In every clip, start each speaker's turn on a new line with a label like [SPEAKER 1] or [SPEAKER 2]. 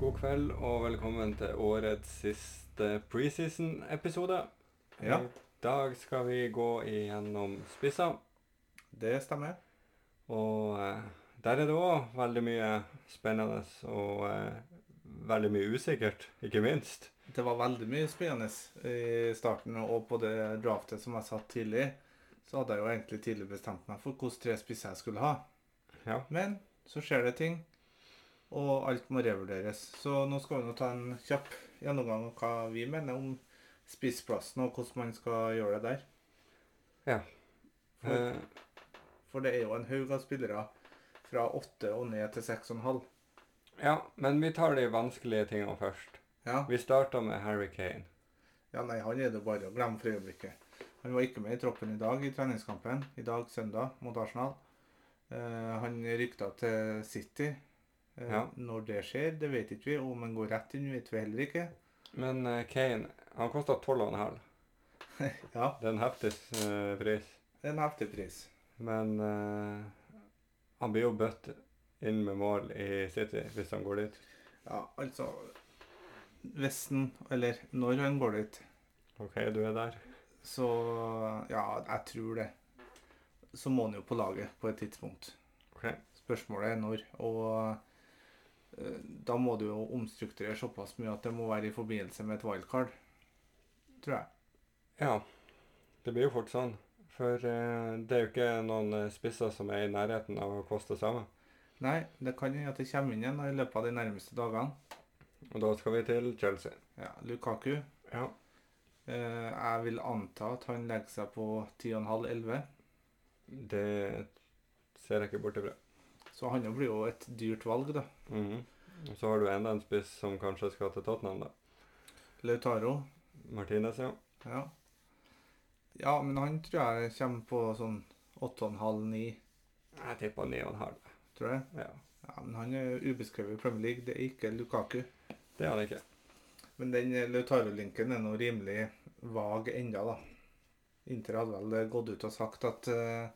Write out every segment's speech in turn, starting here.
[SPEAKER 1] God kveld og velkommen til årets siste preseason-episode.
[SPEAKER 2] Ja,
[SPEAKER 1] I dag skal vi gå igjennom spisser,
[SPEAKER 2] det stemmer.
[SPEAKER 1] og eh, der er det òg veldig mye spennende og eh, veldig mye usikkert, ikke minst.
[SPEAKER 2] Det var veldig mye spennende i starten, og på det draftet som jeg satt tidlig, så hadde jeg jo egentlig tidlig bestemt meg for hvilke tre spisser jeg skulle ha.
[SPEAKER 1] Ja.
[SPEAKER 2] Men så skjer det ting, og alt må revurderes. Så nå skal vi nå ta en kjapp gjennomgang av hva vi mener om spissplassen, og hvordan man skal gjøre det der.
[SPEAKER 1] Ja.
[SPEAKER 2] For,
[SPEAKER 1] Eh,
[SPEAKER 2] for det er jo en haug av spillere fra åtte og ned til seks og en halv.
[SPEAKER 1] ja, men vi tar de vanskelige tingene først.
[SPEAKER 2] Ja.
[SPEAKER 1] Vi starter med Harry Kane.
[SPEAKER 2] Ja, nei, han er det bare å glemme for øyeblikket. Han var ikke med i troppen i dag i treningskampen, i dag søndag mot Arsenal. Eh, han rykta til City. Eh,
[SPEAKER 1] Ja.
[SPEAKER 2] Når det skjer, det vet ikke vi. Om han går rett inn, vet vi heller ikke.
[SPEAKER 1] Men eh, Kane han kosta 12,5.
[SPEAKER 2] Ja,
[SPEAKER 1] Det er en heftig eh, pris.
[SPEAKER 2] det er en heftig pris.
[SPEAKER 1] Men eh, han blir jo bøtt inn med mål i City hvis han går dit.
[SPEAKER 2] Ja, altså Hvis han, eller når han går dit,
[SPEAKER 1] OK, du er der.
[SPEAKER 2] så Ja, jeg tror det. Så må han jo på laget på et tidspunkt.
[SPEAKER 1] Ok.
[SPEAKER 2] Spørsmålet er når. Og eh, da må du jo omstrukturere såpass mye at det må være i forbindelse med et wildcard. Tror jeg.
[SPEAKER 1] Ja, det blir jo fort sånn. For eh, det er jo ikke noen eh, spisser som er i nærheten av å koste samme.
[SPEAKER 2] Nei, det kan hende at det kommer inn igjen i løpet av de nærmeste dagene.
[SPEAKER 1] Og da skal vi til Chelsea.
[SPEAKER 2] Ja, Lukaku.
[SPEAKER 1] Ja.
[SPEAKER 2] eh, Jeg vil anta at han legger seg på 10,5-11.
[SPEAKER 1] Det ser jeg ikke bort ifra.
[SPEAKER 2] Så han jo blir jo et dyrt valg, da.
[SPEAKER 1] Mhm. Og Så har du enda en spiss som kanskje skal til Tottenham, da.
[SPEAKER 2] Lautaro.
[SPEAKER 1] Martinez, ja.
[SPEAKER 2] Ja. ja, men han tror jeg kommer på sånn 8,5-9,
[SPEAKER 1] Jeg tippa 9,5.
[SPEAKER 2] tror jeg.
[SPEAKER 1] Ja.
[SPEAKER 2] Ja, Men han er ubeskrevet i Premier League. Det er ikke Lukaku.
[SPEAKER 1] Det er han ikke.
[SPEAKER 2] Men den eh, Lautaro-linken er nå rimelig vag enda, da. Inter hadde vel eh, gått ut og sagt at eh,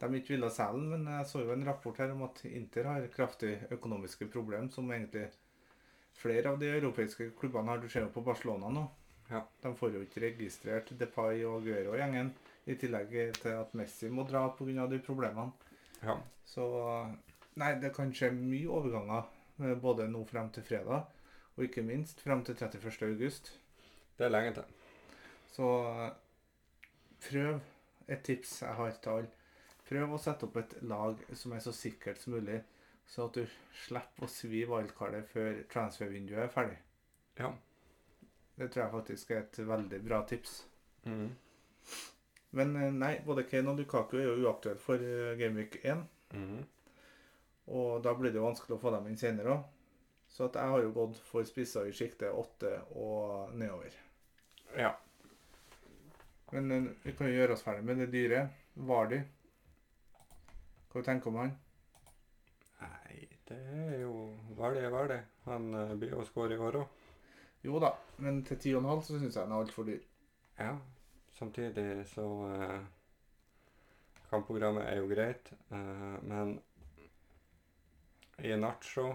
[SPEAKER 2] de ikke ville selge den, men jeg så jo en rapport her om at Inter har kraftig økonomiske problemer, som egentlig flere av de europeiske klubbene har. Du ser jo på Barcelona nå.
[SPEAKER 1] Ja.
[SPEAKER 2] De får jo ikke registrert Depay og Aguero-gjengen, i tillegg til at Messi må dra pga. de problemene.
[SPEAKER 1] Ja.
[SPEAKER 2] Så nei, det kan skje mye overganger eh, både nå frem til fredag, og ikke minst frem til 31. august.
[SPEAKER 1] Det er lenge til.
[SPEAKER 2] Så eh, prøv et tips jeg har til alle. Prøv å sette opp et lag som er så sikkert som mulig, så at du slipper å svi wildcardet før transfervinduet er ferdig.
[SPEAKER 1] Ja.
[SPEAKER 2] Det tror jeg faktisk er et veldig bra tips.
[SPEAKER 1] Mhm.
[SPEAKER 2] Men eh, nei, både Kane og Lukaku er jo uaktuelle for eh, Gameweek 1.
[SPEAKER 1] Mhm.
[SPEAKER 2] Og da blir det jo vanskelig å få dem inn senere òg. Så at jeg har jo gått for spisser i sjiktet åtte og nedover.
[SPEAKER 1] Ja.
[SPEAKER 2] Men eh, vi kan jo gjøre oss ferdig med det dyre. Vardi. Hva tenker du om han?
[SPEAKER 1] Nei, det er jo Hva er det, hva er det? Han eh, blir jo skåret i år òg.
[SPEAKER 2] Jo da, men til 10,5 så syns jeg han er altfor dyr.
[SPEAKER 1] Ja. Samtidig så eh, Kampprogrammet er jo greit, eh, men i Nacho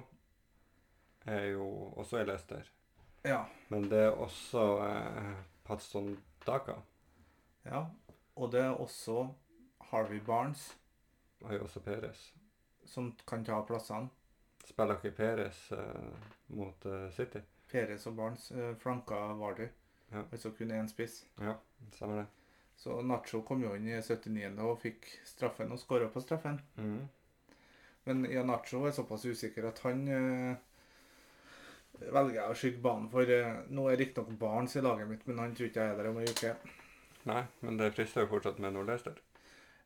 [SPEAKER 1] er jo også i Leicester.
[SPEAKER 2] Ja.
[SPEAKER 1] Men det er også eh, Patson Daka.
[SPEAKER 2] ja. Og det er også Harvey Barnes
[SPEAKER 1] Og jo også Perez.
[SPEAKER 2] som kan ta plassene.
[SPEAKER 1] Spiller ikke Perez eh, mot eh, City?
[SPEAKER 2] Perez og Barnes eh, flanka Vardi.
[SPEAKER 1] Ja.
[SPEAKER 2] Altså kun én spiss.
[SPEAKER 1] Ja, stemmer det.
[SPEAKER 2] Så Nacho kom jo inn i 79. og fikk straffen og skåra på straffen.
[SPEAKER 1] Mhm.
[SPEAKER 2] Men Ianacho er såpass usikker at han eh, velger jeg å skygge banen for. eh, nå er riktignok Barents i laget mitt, men han tror ikke jeg er der om ei uke.
[SPEAKER 1] Nei, men det frister jo fortsatt med noe Leicester.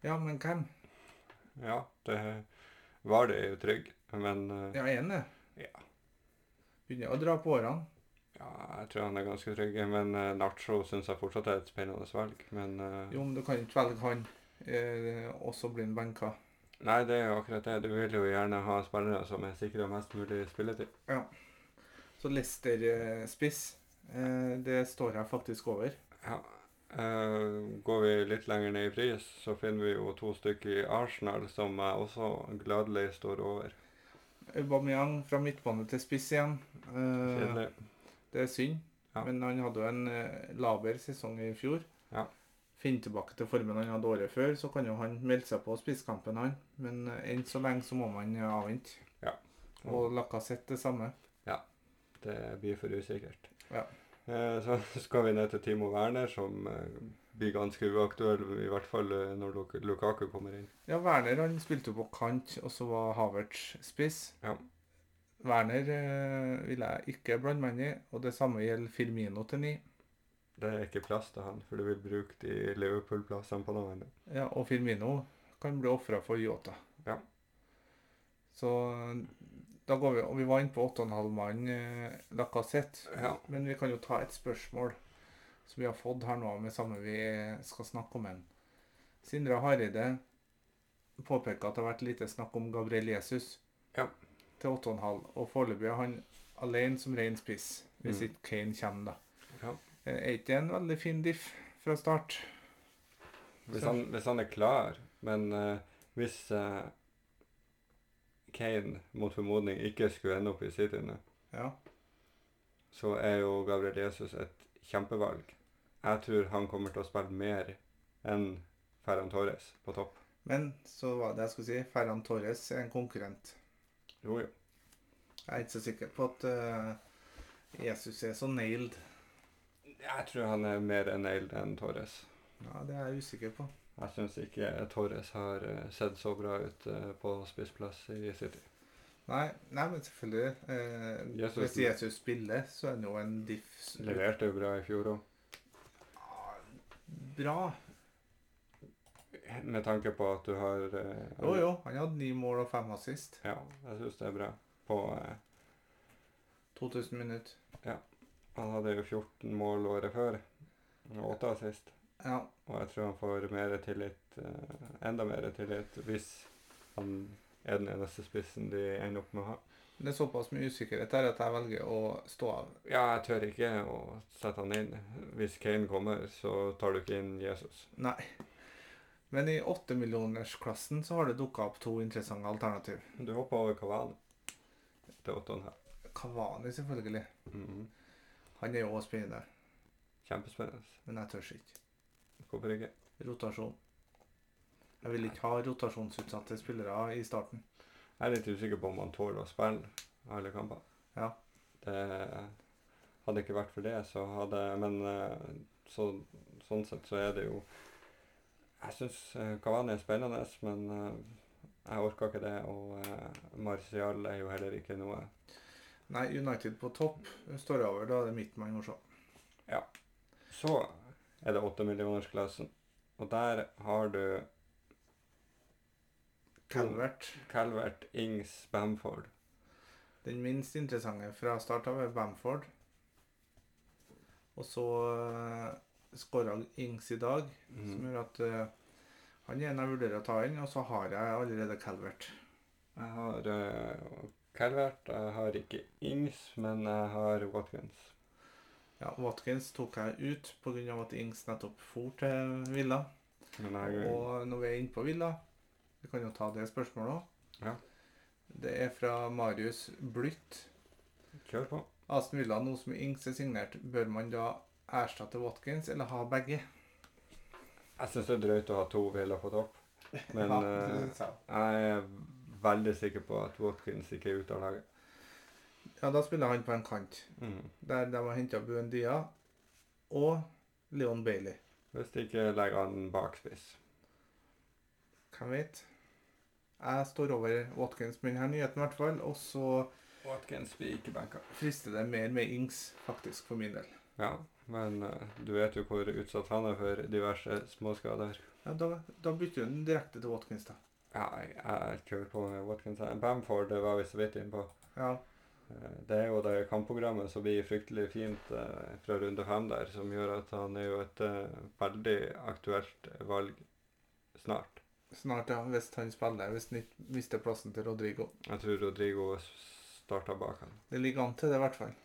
[SPEAKER 2] Ja, men hvem?
[SPEAKER 1] Ja, det var det jo trygg, men eh,
[SPEAKER 2] Ja, er han det?
[SPEAKER 1] Ja.
[SPEAKER 2] Begynner å dra på årene.
[SPEAKER 1] ja, jeg tror han er ganske trygg. Men eh, Nacho syns jeg fortsatt er et spennende valg. Men eh,
[SPEAKER 2] Jo, men du kan ikke velge han, eh, og så blir han benka.
[SPEAKER 1] nei, det er jo akkurat det. Du vil jo gjerne ha spillere som er sikra mest mulig spilletid.
[SPEAKER 2] Så Lester-spiss, eh, det står jeg faktisk over.
[SPEAKER 1] Ja. eh, går vi litt lenger ned i pris, så finner vi jo to stykker i Arsenal som jeg også gladelig står over.
[SPEAKER 2] Aubameyang fra midtbane til spiss igjen. Eh,
[SPEAKER 1] Kjedelig.
[SPEAKER 2] det er synd,
[SPEAKER 1] Ja.
[SPEAKER 2] men han hadde jo en eh, laber sesong i fjor.
[SPEAKER 1] Ja.
[SPEAKER 2] Finne tilbake til formen han hadde året før, så kan jo han melde seg på spisskampen, han. Men eh, enn så lenge så må man eh, avvente.
[SPEAKER 1] Ja.
[SPEAKER 2] Og Lacassette det samme.
[SPEAKER 1] Det blir for usikkert.
[SPEAKER 2] Ja.
[SPEAKER 1] Eh, Så skal vi ned til Timo Werner, som eh, blir ganske uaktuell, i hvert fall eh, når Luk- Lukaku kommer inn.
[SPEAKER 2] Ja, Werner han spilte jo på kant, og så var Havertz spiss.
[SPEAKER 1] Ja.
[SPEAKER 2] Werner eh, vil jeg ikke blande meg inn i, og det samme gjelder Firmino til ni.
[SPEAKER 1] Det er ikke plass til han, for du vil bruke de Liverpool-plassene på noen.
[SPEAKER 2] Ja, og Firmino kan bli ofra for Yota.
[SPEAKER 1] Ja.
[SPEAKER 2] Så da går vi Og vi var inne på 8,5 mann eh, Lacassette.
[SPEAKER 1] Ja.
[SPEAKER 2] Men vi kan jo ta et spørsmål som vi har fått her nå, med samme vi skal snakke om. en. Sindre Hareide påpeker at det har vært lite snakk om Gabriel Jesus
[SPEAKER 1] Ja.
[SPEAKER 2] til 8,5. Og foreløpig er han alene som ren spiss, hvis
[SPEAKER 1] Mm.
[SPEAKER 2] ikke Kane kommer, da.
[SPEAKER 1] Ja.
[SPEAKER 2] Eh, Er ikke det en veldig fin diff fra start?
[SPEAKER 1] Hvis han, hvis han er klar, men eh, hvis eh, Kane mot formodning ikke skulle ende opp i City nå,
[SPEAKER 2] Ja.
[SPEAKER 1] så er jo Gabriel Jesus et kjempevalg. Jeg tror han kommer til å spille mer enn Ferran Torres på topp.
[SPEAKER 2] Men så var det jeg skulle si, Ferran Torres er en konkurrent.
[SPEAKER 1] Jo, jo.
[SPEAKER 2] Jeg er ikke så sikker på at eh, Jesus er så nailed.
[SPEAKER 1] Jeg tror han er mer nailed enn Torres.
[SPEAKER 2] Ja, Det er jeg usikker på.
[SPEAKER 1] Jeg syns ikke Torres har eh, sett så bra ut eh, på spissplass i City.
[SPEAKER 2] Nei, nei men selvfølgelig. eh,
[SPEAKER 1] Jesus-
[SPEAKER 2] hvis Jesus spiller, så er han jo en diff s-
[SPEAKER 1] Leverte jo bra i fjor òg.
[SPEAKER 2] Ah, Bra.
[SPEAKER 1] Med tanke på at du har eh,
[SPEAKER 2] Jo, jo. Han hadde ni mål og fem assist.
[SPEAKER 1] Ja, jeg syns det er bra. På, eh,
[SPEAKER 2] 2000 minutter.
[SPEAKER 1] han hadde jo 14 mål året før. og Åtte assist.
[SPEAKER 2] Ja.
[SPEAKER 1] Og jeg tror han får mer tillit, eh, enda mer tillit, hvis han er den eneste spissen de ender opp med å ha.
[SPEAKER 2] Det er såpass mye usikkerhet der at jeg velger å stå av.
[SPEAKER 1] Ja, jeg tør ikke å sette han inn. Hvis Kane kommer, så tar du ikke inn Jesus.
[SPEAKER 2] Nei. Men i åttemillionersklassen så har det dukka opp to interessante alternativ.
[SPEAKER 1] Du hopper over Kavani til åtte og en halv.
[SPEAKER 2] Kavani, selvfølgelig.
[SPEAKER 1] Mhm.
[SPEAKER 2] Han er jo også spennende.
[SPEAKER 1] Kjempespennende.
[SPEAKER 2] Men jeg tør ikke.
[SPEAKER 1] Hvorfor ikke?
[SPEAKER 2] Rotasjon. Jeg vil ikke ha rotasjonsutsatte spillere i starten.
[SPEAKER 1] Jeg er litt usikker på om han tåler å spille alle kamper.
[SPEAKER 2] Ja.
[SPEAKER 1] Det hadde ikke vært for det, så hadde Men eh, så, sånn sett så er det jo Jeg syns Kavani er spennende, men eh, jeg orker ikke det. Og eh, Martial er jo heller ikke noe
[SPEAKER 2] Nei, United på topp står over. Da er det mitt man må se.
[SPEAKER 1] Så er det åttemillionersklassen. Og der har du
[SPEAKER 2] Calvert.
[SPEAKER 1] Calvert, Ings, Bamford.
[SPEAKER 2] Den minst interessante fra start av er Bamford. Og så uh, skåra Ings i dag, som
[SPEAKER 1] Mm.
[SPEAKER 2] gjør at eh, han er en jeg vurderer å ta inn. Og så har jeg allerede Calvert.
[SPEAKER 1] Jeg har eh, Calvert, jeg har ikke Ings, men jeg har Watkins.
[SPEAKER 2] Ja, Watkins tok jeg ut pga. at Ings nettopp for til Villa.
[SPEAKER 1] Men jeg,
[SPEAKER 2] Og når vi er inne på Villa, vi kan jo ta det spørsmålet òg.
[SPEAKER 1] Ja.
[SPEAKER 2] Det er fra Marius Blytt.
[SPEAKER 1] Kjør på.
[SPEAKER 2] Aston Villa, nå som Ings er signert, bør man da erstatte Watkins eller ha begge?
[SPEAKER 1] Jeg syns det er drøyt å ha to hviler på topp, men
[SPEAKER 2] ja, det
[SPEAKER 1] eh,
[SPEAKER 2] synes jeg.
[SPEAKER 1] jeg er veldig sikker på at Watkins ikke er ute av laget.
[SPEAKER 2] ja, da spiller han på en kant,
[SPEAKER 1] Mm.
[SPEAKER 2] der de har henta Buendia og Leon Bailey.
[SPEAKER 1] Hvis de ikke legger han bakspiss.
[SPEAKER 2] Hvem vet? Jeg står over Watkins med denne nyheten, i hvert fall. Og så
[SPEAKER 1] Watkins blir ikke benka.
[SPEAKER 2] frister det mer med Ings, faktisk, for min del.
[SPEAKER 1] Ja, men eh, du vet jo hvor utsatt han er for diverse småskader.
[SPEAKER 2] Ja, da, da bytter du den direkte til Watkins, da.
[SPEAKER 1] Ja, jeg, jeg kjører på med Watkins. her. Bamford det var vi så vidt innpå.
[SPEAKER 2] Ja,
[SPEAKER 1] Eh, Det er jo det kampprogrammet som blir fryktelig fint eh, fra runde fem der, som gjør at han er jo et eh, veldig aktuelt valg snart.
[SPEAKER 2] Snart, ja. Hvis han spiller. Hvis han ikke mister plassen til Rodrigo.
[SPEAKER 1] Jeg tror Rodrigo starta bak han.
[SPEAKER 2] Det ligger an til det, i hvert fall.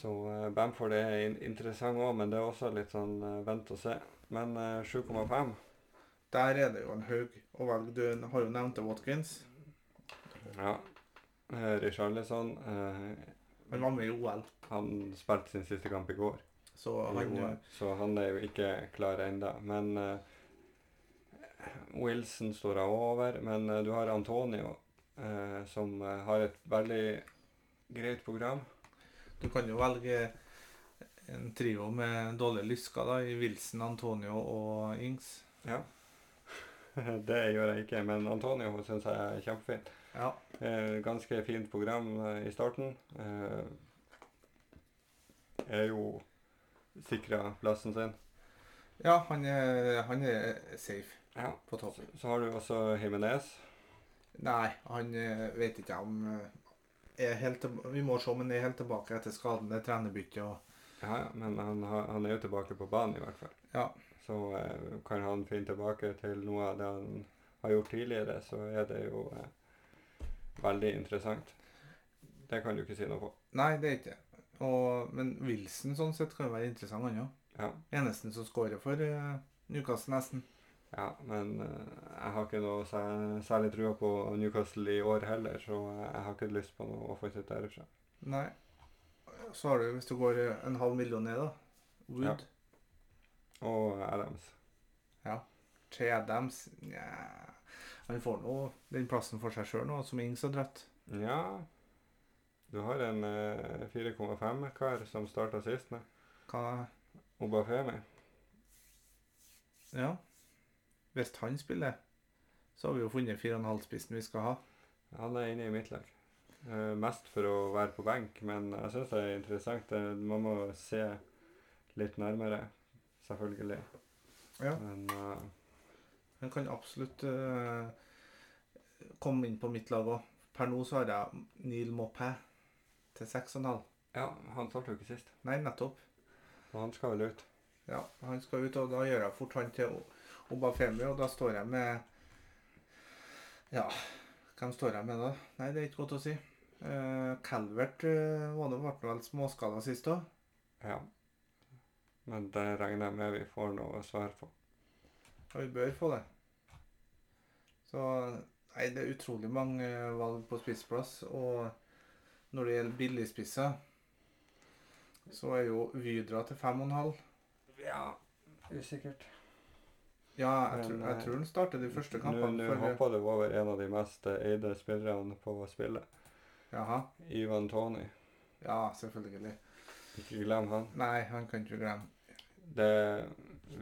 [SPEAKER 1] Så eh, Bamford er in interessant òg, men det er også litt sånn eh, vent og se. Men eh, 7,5
[SPEAKER 2] Der er det jo en haug å velge. Du har jo nevnt Watkins.
[SPEAKER 1] Ja. Eh, Richarlison eh,
[SPEAKER 2] Han var med i OL,
[SPEAKER 1] Han spilte sin siste kamp i går.
[SPEAKER 2] så han
[SPEAKER 1] Jo,
[SPEAKER 2] eh,
[SPEAKER 1] Så han er jo ikke klar ennå. Men eh, Wilson står jeg over. Men eh, du har Antonio, eh, som eh, har et veldig greit program.
[SPEAKER 2] Du kan jo velge en trio med dårlige lysker, da, i Wilson, Antonio og Ings.
[SPEAKER 1] Ja. det gjør jeg ikke, men Antonio syns jeg er kjempefin.
[SPEAKER 2] Ja.
[SPEAKER 1] Eh, ganske fint program eh, i starten. Eh, er jo sikra plassen sin.
[SPEAKER 2] Ja, han er, han er safe
[SPEAKER 1] Ja.
[SPEAKER 2] på topp.
[SPEAKER 1] Så, så har du også Himinez.
[SPEAKER 2] Nei, han eh, vet ikke om eh, er helt, tilb- Vi må se om han er helt tilbake etter skaden. Det er trenerbytte og
[SPEAKER 1] Ja, ja, men han, har- han er jo tilbake på banen i hvert fall.
[SPEAKER 2] Ja.
[SPEAKER 1] Så eh, kan han finne tilbake til noe av det han har gjort tidligere, så er det jo eh, veldig interessant. Det kan du ikke si noe på.
[SPEAKER 2] Nei, det er ikke det. Og- Men Wilson sånn sett kan jo være interessant, han òg.
[SPEAKER 1] Ja,
[SPEAKER 2] Eneste som scorer for eh, Newcastle, nesten.
[SPEAKER 1] ja men eh, jeg har ikke noe sær- særlig trua på Newcastle i år heller, så eh, jeg har ikke lyst på noe offensivt derfra.
[SPEAKER 2] Nei. Så har du, hvis du går eh, en halv million ned, da Wood,
[SPEAKER 1] Ja. Og Adams.
[SPEAKER 2] Che Adams Nja Han får nå den plassen for seg sjøl nå, som Ings har dratt.
[SPEAKER 1] Ja, du har en eh, 4,5-kar som starta sist med
[SPEAKER 2] Hva
[SPEAKER 1] Obafemi.
[SPEAKER 2] Ja. Hvis han spiller, så har vi jo funnet 4,5-spissen vi skal ha.
[SPEAKER 1] Han er inne i mitt lag. Eh, mest for å være på benk, men jeg syns det er interessant. Eh, Man må se litt nærmere, selvfølgelig.
[SPEAKER 2] Ja.
[SPEAKER 1] Men eh,
[SPEAKER 2] Han kan absolutt eh, komme inn på mitt lag òg. Per nå så har jeg Neil Mopé til 6,5.
[SPEAKER 1] ja, han startet jo ikke sist,
[SPEAKER 2] Nei, nettopp.
[SPEAKER 1] og han skal vel ut.
[SPEAKER 2] Ja, han skal ut, og da gjør jeg fort han til O- Obafemi, og da står jeg med Ja, hvem står jeg med da? Nei, det er ikke godt å si. Eh, Calvert eh, var det- ble vel småskala sist òg.
[SPEAKER 1] Ja. Men det regner jeg med vi får noe svar på.
[SPEAKER 2] Og vi bør få det. Så nei, det er utrolig mange eh, valg på spissplass. Og når det gjelder billigspisser, så er jo Vydra til 5,5.
[SPEAKER 1] Ja, usikkert.
[SPEAKER 2] Ja, jeg, tror,
[SPEAKER 1] Men,
[SPEAKER 2] jeg
[SPEAKER 1] eh,
[SPEAKER 2] tror han starter de første
[SPEAKER 1] Nå,
[SPEAKER 2] kampene.
[SPEAKER 1] nå
[SPEAKER 2] for-
[SPEAKER 1] hoppa du over en av de mest eh, eide spillerne på spillet.
[SPEAKER 2] Jaha.
[SPEAKER 1] Ivan Tony.
[SPEAKER 2] Ja, selvfølgelig.
[SPEAKER 1] Ikke glem han.
[SPEAKER 2] Nei, han kan ikke glemme.
[SPEAKER 1] det,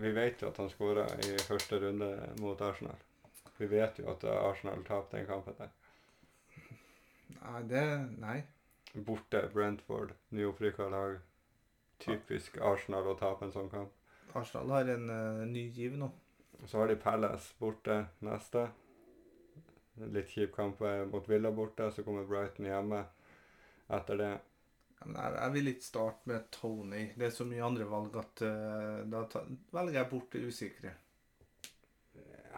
[SPEAKER 1] vi vet jo at han skåra i første runde mot Arsenal. Vi vet jo at Arsenal tapte den kampen der.
[SPEAKER 2] Nei, det Nei.
[SPEAKER 1] Borte Brentford, nyopprykka lag. Typisk Arsenal å tape en sånn kamp.
[SPEAKER 2] Arsenal har en eh, ny giv nå.
[SPEAKER 1] Så har de Palace borte neste. Litt kjip kamp eh, mot Villa borte, så kommer Brighton hjemme etter det.
[SPEAKER 2] Ja, Men jeg, jeg vil ikke starte med Tony. Det er så mye andre valg at eh, da ta, velger jeg bort det usikre.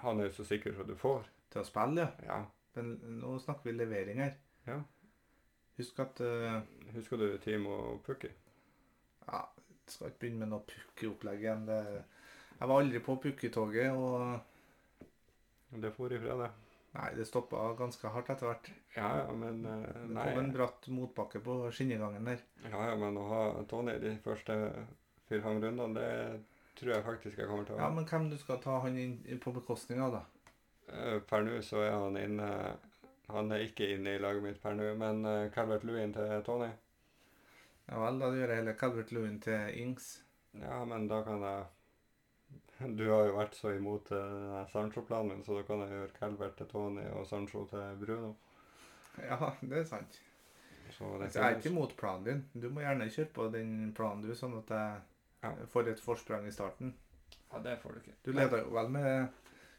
[SPEAKER 1] Han er jo så sikker som du får.
[SPEAKER 2] Til å spille, ja.
[SPEAKER 1] Ja.
[SPEAKER 2] Men nå snakker vi levering her.
[SPEAKER 1] Ja.
[SPEAKER 2] Husk at eh,
[SPEAKER 1] Husker du Timo Pukki?
[SPEAKER 2] ja, jeg Skal ikke begynne med noe pukkeopplegg igjen. Det, jeg var aldri på pukketoget, og
[SPEAKER 1] Det for ifra det.
[SPEAKER 2] nei, det stoppa ganske hardt etter hvert.
[SPEAKER 1] Ja, ja, men eh,
[SPEAKER 2] Det
[SPEAKER 1] Nei.
[SPEAKER 2] kom en bratt motbakke på skinnegangen der.
[SPEAKER 1] Ja, ja, men å ha Tony i de første fire-fem rundene, det tror jeg faktisk jeg kommer til å
[SPEAKER 2] Ja,
[SPEAKER 1] ha.
[SPEAKER 2] Men hvem du skal ta han inn på bekostning av, da?
[SPEAKER 1] Eh, Per nå så er han inne Han er ikke inne i laget mitt per nå, men eh, Calvert Lewin til Tony
[SPEAKER 2] Ja vel, da gjør jeg heller Calvert Lewin til Ings.
[SPEAKER 1] Ja, men da kan jeg Du har jo vært så imot eh, den her Sancho-planen min, så da kan jeg gjøre Calvert til Tony og Sancho til Bruno.
[SPEAKER 2] Ja, det er sant.
[SPEAKER 1] Så det
[SPEAKER 2] Altså, jeg er
[SPEAKER 1] finnes.
[SPEAKER 2] ikke imot planen din. Du må gjerne kjøre på den planen du, sånn at jeg
[SPEAKER 1] Ja.
[SPEAKER 2] får et forsprang i starten.
[SPEAKER 1] Ja, det får du ikke.
[SPEAKER 2] Du leda jo vel med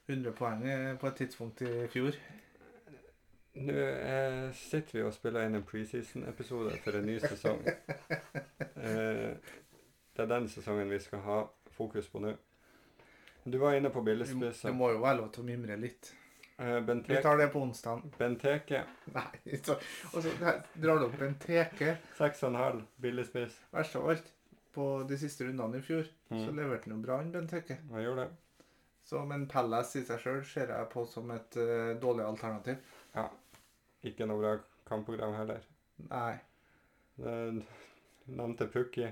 [SPEAKER 2] 100 poeng eh, på et tidspunkt i fjor.
[SPEAKER 1] Nå eh, sitter vi og spiller inn en preseason-episode for en ny sesong. eh, det er den sesongen vi skal ha fokus på nå. Du var inne på
[SPEAKER 2] Det
[SPEAKER 1] billigspisser.
[SPEAKER 2] må jo være lov til å mimre litt.
[SPEAKER 1] Eh,
[SPEAKER 2] Vi
[SPEAKER 1] Benteke,
[SPEAKER 2] tar det på onsdag.
[SPEAKER 1] Benteke
[SPEAKER 2] Nei, så, og så her drar du opp en teke.
[SPEAKER 1] 6,5 billigspiss.
[SPEAKER 2] Verst av alt, på de siste rundene i fjor, så
[SPEAKER 1] Mm.
[SPEAKER 2] leverte han jo bra, han Benteke.
[SPEAKER 1] Han gjorde det.
[SPEAKER 2] Så, men Palace i seg sjøl ser jeg på som et eh, dårlig alternativ.
[SPEAKER 1] Ikke noe bra kampprogram heller.
[SPEAKER 2] Nei.
[SPEAKER 1] Eh, Nevnte Pukki.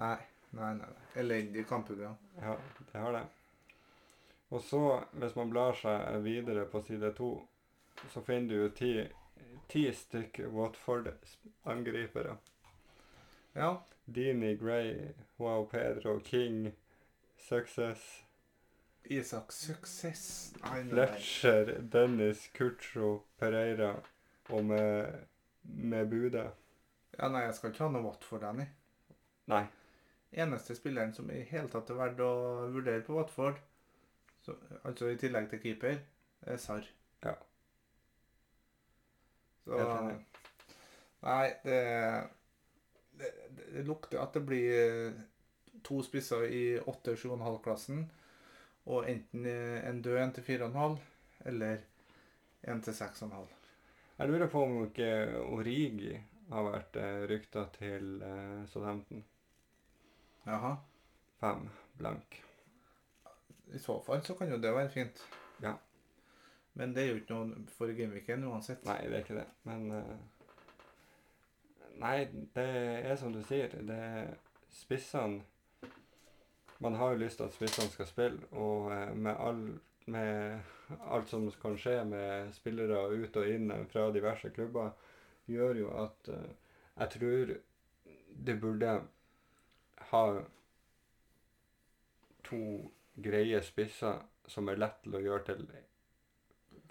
[SPEAKER 2] Nei, nei, nei. nei. Elendig kampprogram.
[SPEAKER 1] Ja, det har det. Og så, hvis man blar seg videre på side to, så finner du jo ti, ti stykk Watford-angripere.
[SPEAKER 2] Ja,
[SPEAKER 1] Dini, Gray, Joao Pedro, King, Success,
[SPEAKER 2] Isak suksess. Nei, nei, nei.
[SPEAKER 1] Fletcher, Dennis, Kutro, Pereira og med, med Bude.
[SPEAKER 2] Ja, nei, jeg skal ikke ha noe Watford, Danny.
[SPEAKER 1] Nei,
[SPEAKER 2] Eneste spilleren som i hele tatt er verdt å vurdere på Watford, så, altså i tillegg til keeper, er Sarr.
[SPEAKER 1] Ja.
[SPEAKER 2] Så
[SPEAKER 1] Helt enig.
[SPEAKER 2] Nei, det, det, det lukter at det blir eh, to spisser i 8-7,5-klassen, og enten en død en til 4,5, eller en til 6,5.
[SPEAKER 1] jeg lurer på om ikke Origi har vært eh, rykta til eh, Southampton.
[SPEAKER 2] Jaha.
[SPEAKER 1] Fem blank.
[SPEAKER 2] I så fall så kan jo det være fint.
[SPEAKER 1] Ja.
[SPEAKER 2] Men det er jo ikke noe for gameweeken uansett.
[SPEAKER 1] Nei, det er ikke det, men eh, Nei, det er som du sier, det er spissene Man har jo lyst til at spissene skal spille, og eh, med, all, med alt som kan skje med spillere ut og inn eh, fra diverse klubber, gjør jo at eh, jeg tror det burde ha to greie spisser som er lett til å gjøre til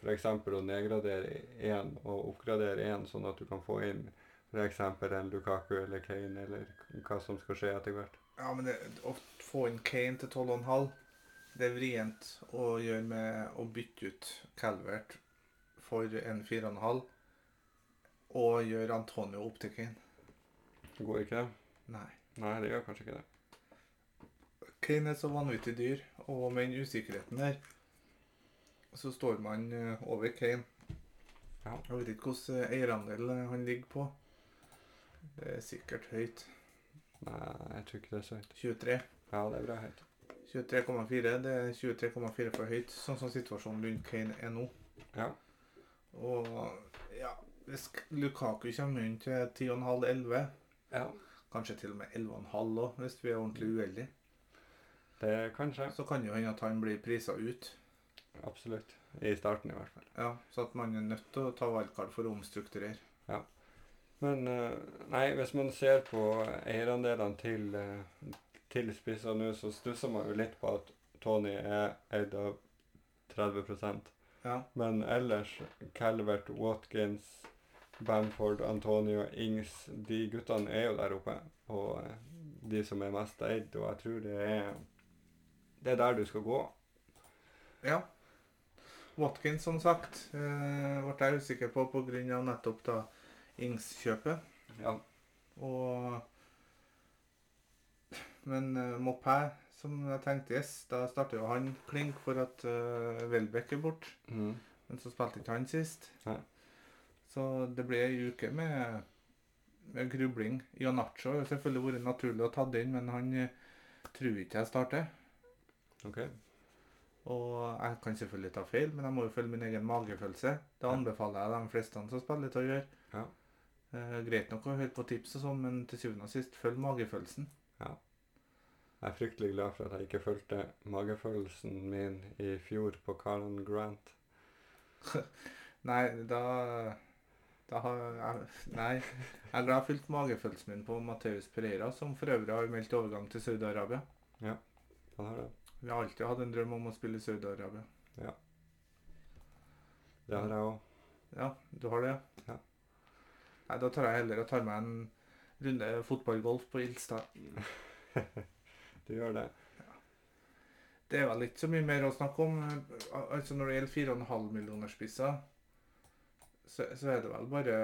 [SPEAKER 1] f.eks. å nedgradere én og oppgradere én, sånn at du kan få inn f.eks. en Lukaku eller Kane, eller hva som skal skje etter hvert.
[SPEAKER 2] Ja, men det, å få inn Kane til 12,5, det er vrient å gjøre med å bytte ut Calvert for en 4,5 og gjøre Antonio opp til Kane.
[SPEAKER 1] Går ikke det?
[SPEAKER 2] Nei.
[SPEAKER 1] Nei, det gjør kanskje ikke det.
[SPEAKER 2] Kane er så vanvittig dyr, og med den usikkerheten der, så står man eh, over Kane.
[SPEAKER 1] Ja.
[SPEAKER 2] Jeg vet ikke hvordan eh, eierandel eh, han ligger på. Det er sikkert høyt.
[SPEAKER 1] Nei, jeg tror ikke det er så høyt.
[SPEAKER 2] 23.
[SPEAKER 1] Ja, det er bra høyt.
[SPEAKER 2] 23,4. Det er 23,4 for høyt, sånn som situasjonen rundt Kane er nå.
[SPEAKER 1] Ja.
[SPEAKER 2] Og ja, hvis Lukaku kommer inn til 10,5-11,
[SPEAKER 1] ja.
[SPEAKER 2] kanskje til og med 11,5 òg, hvis vi er ordentlig uheldige,
[SPEAKER 1] Det kan skje.
[SPEAKER 2] så kan jo hende at han blir prisa ut.
[SPEAKER 1] Absolutt. I starten, i hvert fall.
[SPEAKER 2] Ja, Så at man er nødt til å ta valgkart for å omstrukturere.
[SPEAKER 1] Men eh, nei, hvis man ser på eierandelene til, eh, til spisser nå, så stusser man jo litt på at Tony er eid av 30
[SPEAKER 2] Ja.
[SPEAKER 1] Men ellers, Calvert, Watkins, Bamford, Antonio, Ings De guttene er jo der oppe, og eh, de som er mest eid. Og jeg tror det er Det er der du skal gå.
[SPEAKER 2] ja. Watkins, som sagt, eh, ble jeg usikker på pga. nettopp da Ings-kjøpet.
[SPEAKER 1] Ja.
[SPEAKER 2] Og Men uh, Mopé, som jeg tenkte yes, da starter jo han klink for at uh, Welbeck er borte.
[SPEAKER 1] Mm.
[SPEAKER 2] Men så spilte ikke han sist.
[SPEAKER 1] Nei.
[SPEAKER 2] Så det ble ei uke med, med grubling. Janacho har jo selvfølgelig vært naturlig å ta det inn, men han eh, tror ikke jeg starter.
[SPEAKER 1] OK.
[SPEAKER 2] Og jeg kan selvfølgelig ta feil, men jeg må jo følge min egen magefølelse. Det
[SPEAKER 1] Ja.
[SPEAKER 2] anbefaler jeg de fleste som spiller, til å gjøre.
[SPEAKER 1] Ja.
[SPEAKER 2] Eh, greit nok å høre på tips og sånn, men til syvende og sist, følg magefølelsen.
[SPEAKER 1] Jeg er fryktelig glad for at jeg ikke fulgte magefølelsen min i fjor på Karen Grant.
[SPEAKER 2] Nei, da, da har jeg, Nei. Jeg er glad jeg fulgte magefølelsen min på Mateus Pereira, som for øvrig har meldt overgang til Saudi-Arabia.
[SPEAKER 1] Han har det.
[SPEAKER 2] Vi har alltid hatt en drøm om å spille i Saudi-Arabia.
[SPEAKER 1] Det har jeg òg.
[SPEAKER 2] Ja, du har det?
[SPEAKER 1] Ja.
[SPEAKER 2] Nei, da tar jeg heller og tar meg en runde fotballgolf på Ilstad.
[SPEAKER 1] Du gjør det.
[SPEAKER 2] Det er vel ikke så mye mer å snakke om. Al- Altså Når det gjelder 4,5 millioner spisser, så, så er det vel bare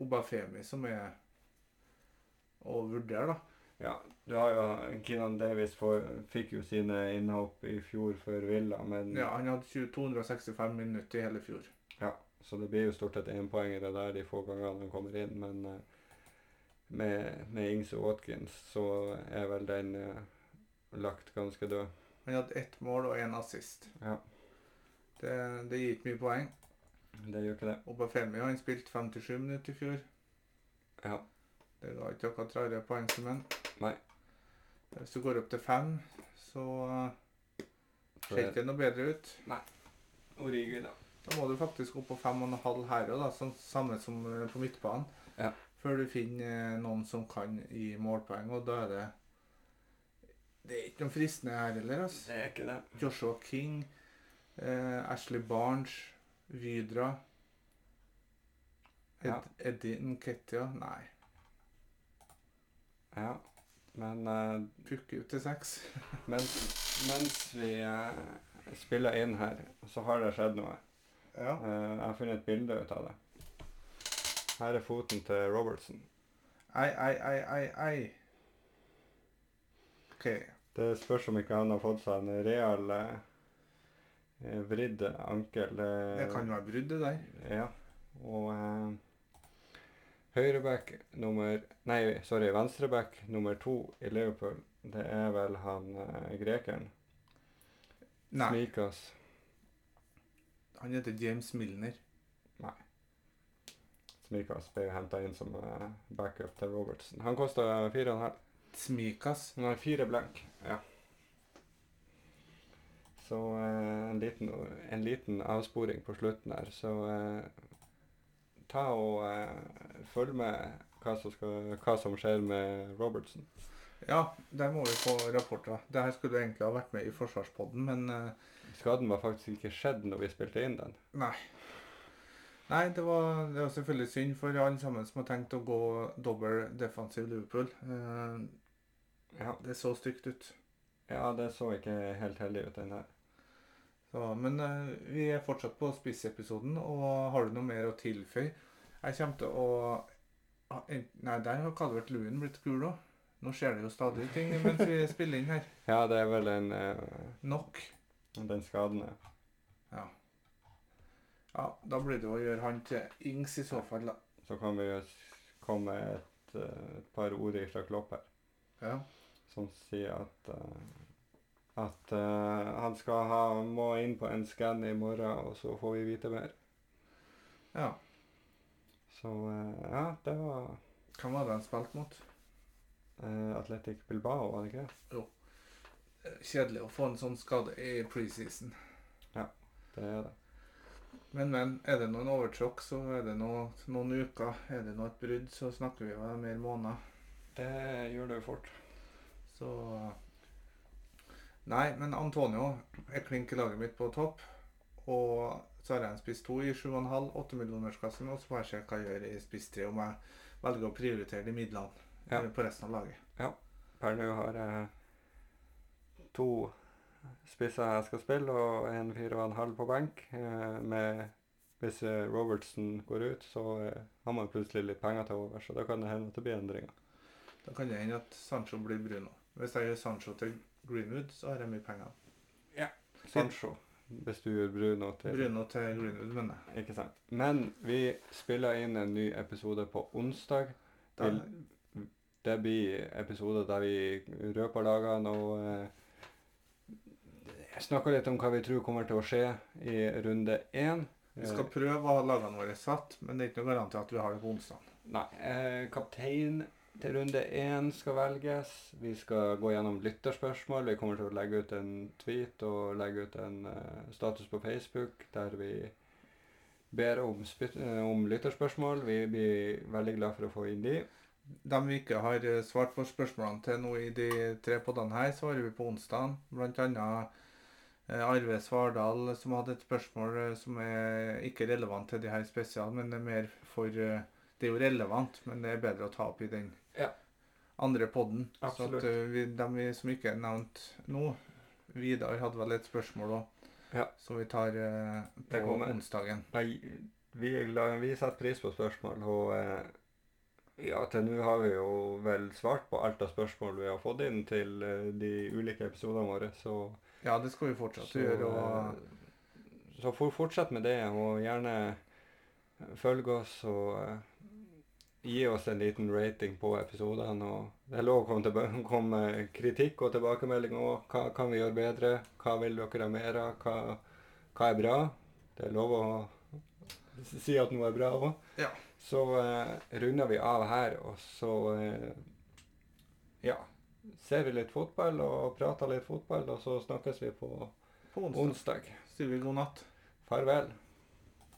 [SPEAKER 2] Obafemi som er å vurdere, da.
[SPEAKER 1] Ja, du har jo eh, Keenan Davies får- fikk jo sine innhopp i fjor for Villa, men
[SPEAKER 2] Ja, Han hadde 20 265 minutter i hele fjor.
[SPEAKER 1] Så det blir jo stort sett énpoengere der de få gangene han kommer inn, men eh, med, med Ings og Watkins så er vel den eh, lagt ganske død.
[SPEAKER 2] Han hadde ett mål og én assist.
[SPEAKER 1] Ja.
[SPEAKER 2] Det, det gir ikke mye poeng.
[SPEAKER 1] Det gjør ikke det.
[SPEAKER 2] Obafemi han spilte 57 minutter i fjor.
[SPEAKER 1] Ja.
[SPEAKER 2] Det ga ikke akkurat rare poengsummen.
[SPEAKER 1] Nei.
[SPEAKER 2] Hvis du går opp til fem, så eh,
[SPEAKER 1] Så
[SPEAKER 2] ser ikke det noe bedre ut.
[SPEAKER 1] Origi, da.
[SPEAKER 2] Da må du faktisk opp på fem og en halv her òg, sånn, samme som eh, på midtbanen.
[SPEAKER 1] Ja.
[SPEAKER 2] Før du finner eh, noen som kan gi målpoeng, og da er det Det er ikke noe fristende her heller. altså.
[SPEAKER 1] Det er ikke det.
[SPEAKER 2] Joshua King, eh, Ashley Barnes, Vydra Ed,
[SPEAKER 1] Ja.
[SPEAKER 2] Eddie Nketia Nei,
[SPEAKER 1] Ja. Men eh,
[SPEAKER 2] pukke ut til seks.
[SPEAKER 1] mens, mens vi eh, spiller inn her, så har det skjedd noe.
[SPEAKER 2] Ja.
[SPEAKER 1] Eh, jeg har funnet et bilde ut av det. Her er foten til Robertson.
[SPEAKER 2] Ei, ei, ei, ei, ei. OK.
[SPEAKER 1] Det spørs om ikke han har fått seg en real eh, eh, vridd ankel. eh,
[SPEAKER 2] Det kan være brudd, det der.
[SPEAKER 1] Ja. Og eh, høyreback nummer Nei, sorry, venstreback nummer to i Liverpool. Det er vel han eh, grekeren.
[SPEAKER 2] Nei.
[SPEAKER 1] Snikas.
[SPEAKER 2] Han heter James Milner.
[SPEAKER 1] Smikas ble henta inn som eh, backup til Robertson. Han kosta fire og en halv.
[SPEAKER 2] Smikas.
[SPEAKER 1] Han har fire blank. Ja. Så eh, en, liten, en liten avsporing på slutten her. Så eh, ta og eh, følg med hva som, skal, hva som skjer med Robertson.
[SPEAKER 2] Ja, der må vi få rapporter. Det her skulle egentlig ha vært med i Forsvarspodden, men eh,
[SPEAKER 1] Skaden var faktisk ikke skjedd når vi spilte inn den.
[SPEAKER 2] Nei, det var, det var selvfølgelig synd for alle sammen som har tenkt å gå dobbel defensiv Liverpool. Eh,
[SPEAKER 1] Ja,
[SPEAKER 2] det så stygt ut.
[SPEAKER 1] ja det så ikke helt heldig ut, den her.
[SPEAKER 2] Så, men eh, vi er fortsatt på spissepisoden, og har du noe mer å tilføye? Jeg kommer til å ah, en- Nei, der har Calvert Lewin blitt gul òg. Nå skjer det jo stadig ting mens vi spiller inn her.
[SPEAKER 1] Ja, det er vel en, eh,
[SPEAKER 2] Nok.
[SPEAKER 1] den skaden, ja.
[SPEAKER 2] Ja, da blir det å gjøre han til Ings i så fall, da.
[SPEAKER 1] Så kan vi jo s- komme med et, eh, et par ord fra Klopp her,
[SPEAKER 2] Ja.
[SPEAKER 1] som sier at eh, at eh, han skal ha, må inn på en skann i morgen, og så får vi vite mer.
[SPEAKER 2] ja.
[SPEAKER 1] Så eh, ja, det var
[SPEAKER 2] Hvem var det han spilte mot?
[SPEAKER 1] eh, Atletic Bilbao, var det ikke det?
[SPEAKER 2] Eh, Kjedelig å få en sånn skade i preseason.
[SPEAKER 1] Det er det.
[SPEAKER 2] Men, men. Er det noen overtråkk, så er det noe, noen uker. Er det noe et brudd, så snakker vi om en mer måned.
[SPEAKER 1] Det gjør det jo fort.
[SPEAKER 2] Så Nei, men Antonio er klink i laget mitt på topp. Og så har jeg en spiss to i 7,5, 8-millionersklassen, og så får jeg se hva jeg gjør i spiss tre, om jeg velger å prioritere de midlene
[SPEAKER 1] Ja.
[SPEAKER 2] eh, på resten av laget.
[SPEAKER 1] Per nå har jeg to spisser jeg skal spille, og en fire og en halv på benk. eh, Med, hvis eh, Robertson går ut, så eh, har man plutselig litt penger til over, så da kan det hende at det blir endringer.
[SPEAKER 2] Da kan det hende at Sancho blir Bruno. Hvis jeg gjør Sancho til Greenwood, så har jeg mye penger.
[SPEAKER 1] Sancho, hvis du gjør Bruno til
[SPEAKER 2] Bruno til Greenwood, mener jeg.
[SPEAKER 1] Ikke sant. Men vi spiller inn en ny episode på onsdag.
[SPEAKER 2] Da,
[SPEAKER 1] Vil- Det blir episode der vi røper lagene og eh, snakker litt om hva vi tror kommer til å skje i runde én.
[SPEAKER 2] vi
[SPEAKER 1] eh,
[SPEAKER 2] skal prøve å ha lagene våre satt, men det er ikke noe garanti at vi har det på onsdag.
[SPEAKER 1] Nei. Eh, kaptein til runde én skal velges. Vi skal gå gjennom lytterspørsmål. Vi kommer til å legge ut en tweet og legge ut en eh, status på Facebook der vi ber om, spyt- eh, om lytterspørsmål. Vi blir veldig glad for å få inn de.
[SPEAKER 2] De vi ikke har eh, svart på spørsmålene til nå i de tre podene her, svarer vi på onsdag. Blant annet eh, Arve Svardal eh, som hadde et spørsmål eh, som er ikke relevant til de her spesial, men det er mer for eh, Det er jo relevant, men det er bedre å ta opp i den
[SPEAKER 1] Ja.
[SPEAKER 2] andre podden.
[SPEAKER 1] Absolutt.
[SPEAKER 2] Så at eh, vi, de vi som ikke er nevnt nå Vidar hadde vel et spørsmål òg,
[SPEAKER 1] Ja.
[SPEAKER 2] som vi tar eh,
[SPEAKER 1] Det
[SPEAKER 2] på
[SPEAKER 1] kommer.
[SPEAKER 2] onsdagen.
[SPEAKER 1] Nei, vi, er glad, vi setter pris på spørsmål, og eh, ja, til nå har vi jo vel svart på alt av spørsmål vi har fått inn til eh, de ulike episodene våre, så
[SPEAKER 2] Ja, det skal vi fortsatt
[SPEAKER 1] så,
[SPEAKER 2] gjøre. Og
[SPEAKER 1] eh, så for, fortsett med det, og gjerne eh, følg oss og eh, gi oss en liten rating på episodene. og Det er lov å komme, tilba- komme med kritikk og tilbakemeldinger òg. Hva kan vi gjøre bedre? Hva vil dere ha mer av? Hva, hva er bra? Det er lov å si at noe er bra òg.
[SPEAKER 2] Ja.
[SPEAKER 1] Så eh, runder vi av her, og så eh, ja, ser vi litt fotball og prater litt fotball, og så snakkes vi på
[SPEAKER 2] På onsdag.
[SPEAKER 1] onsdag.
[SPEAKER 2] Sier vi god natt.
[SPEAKER 1] Farvel.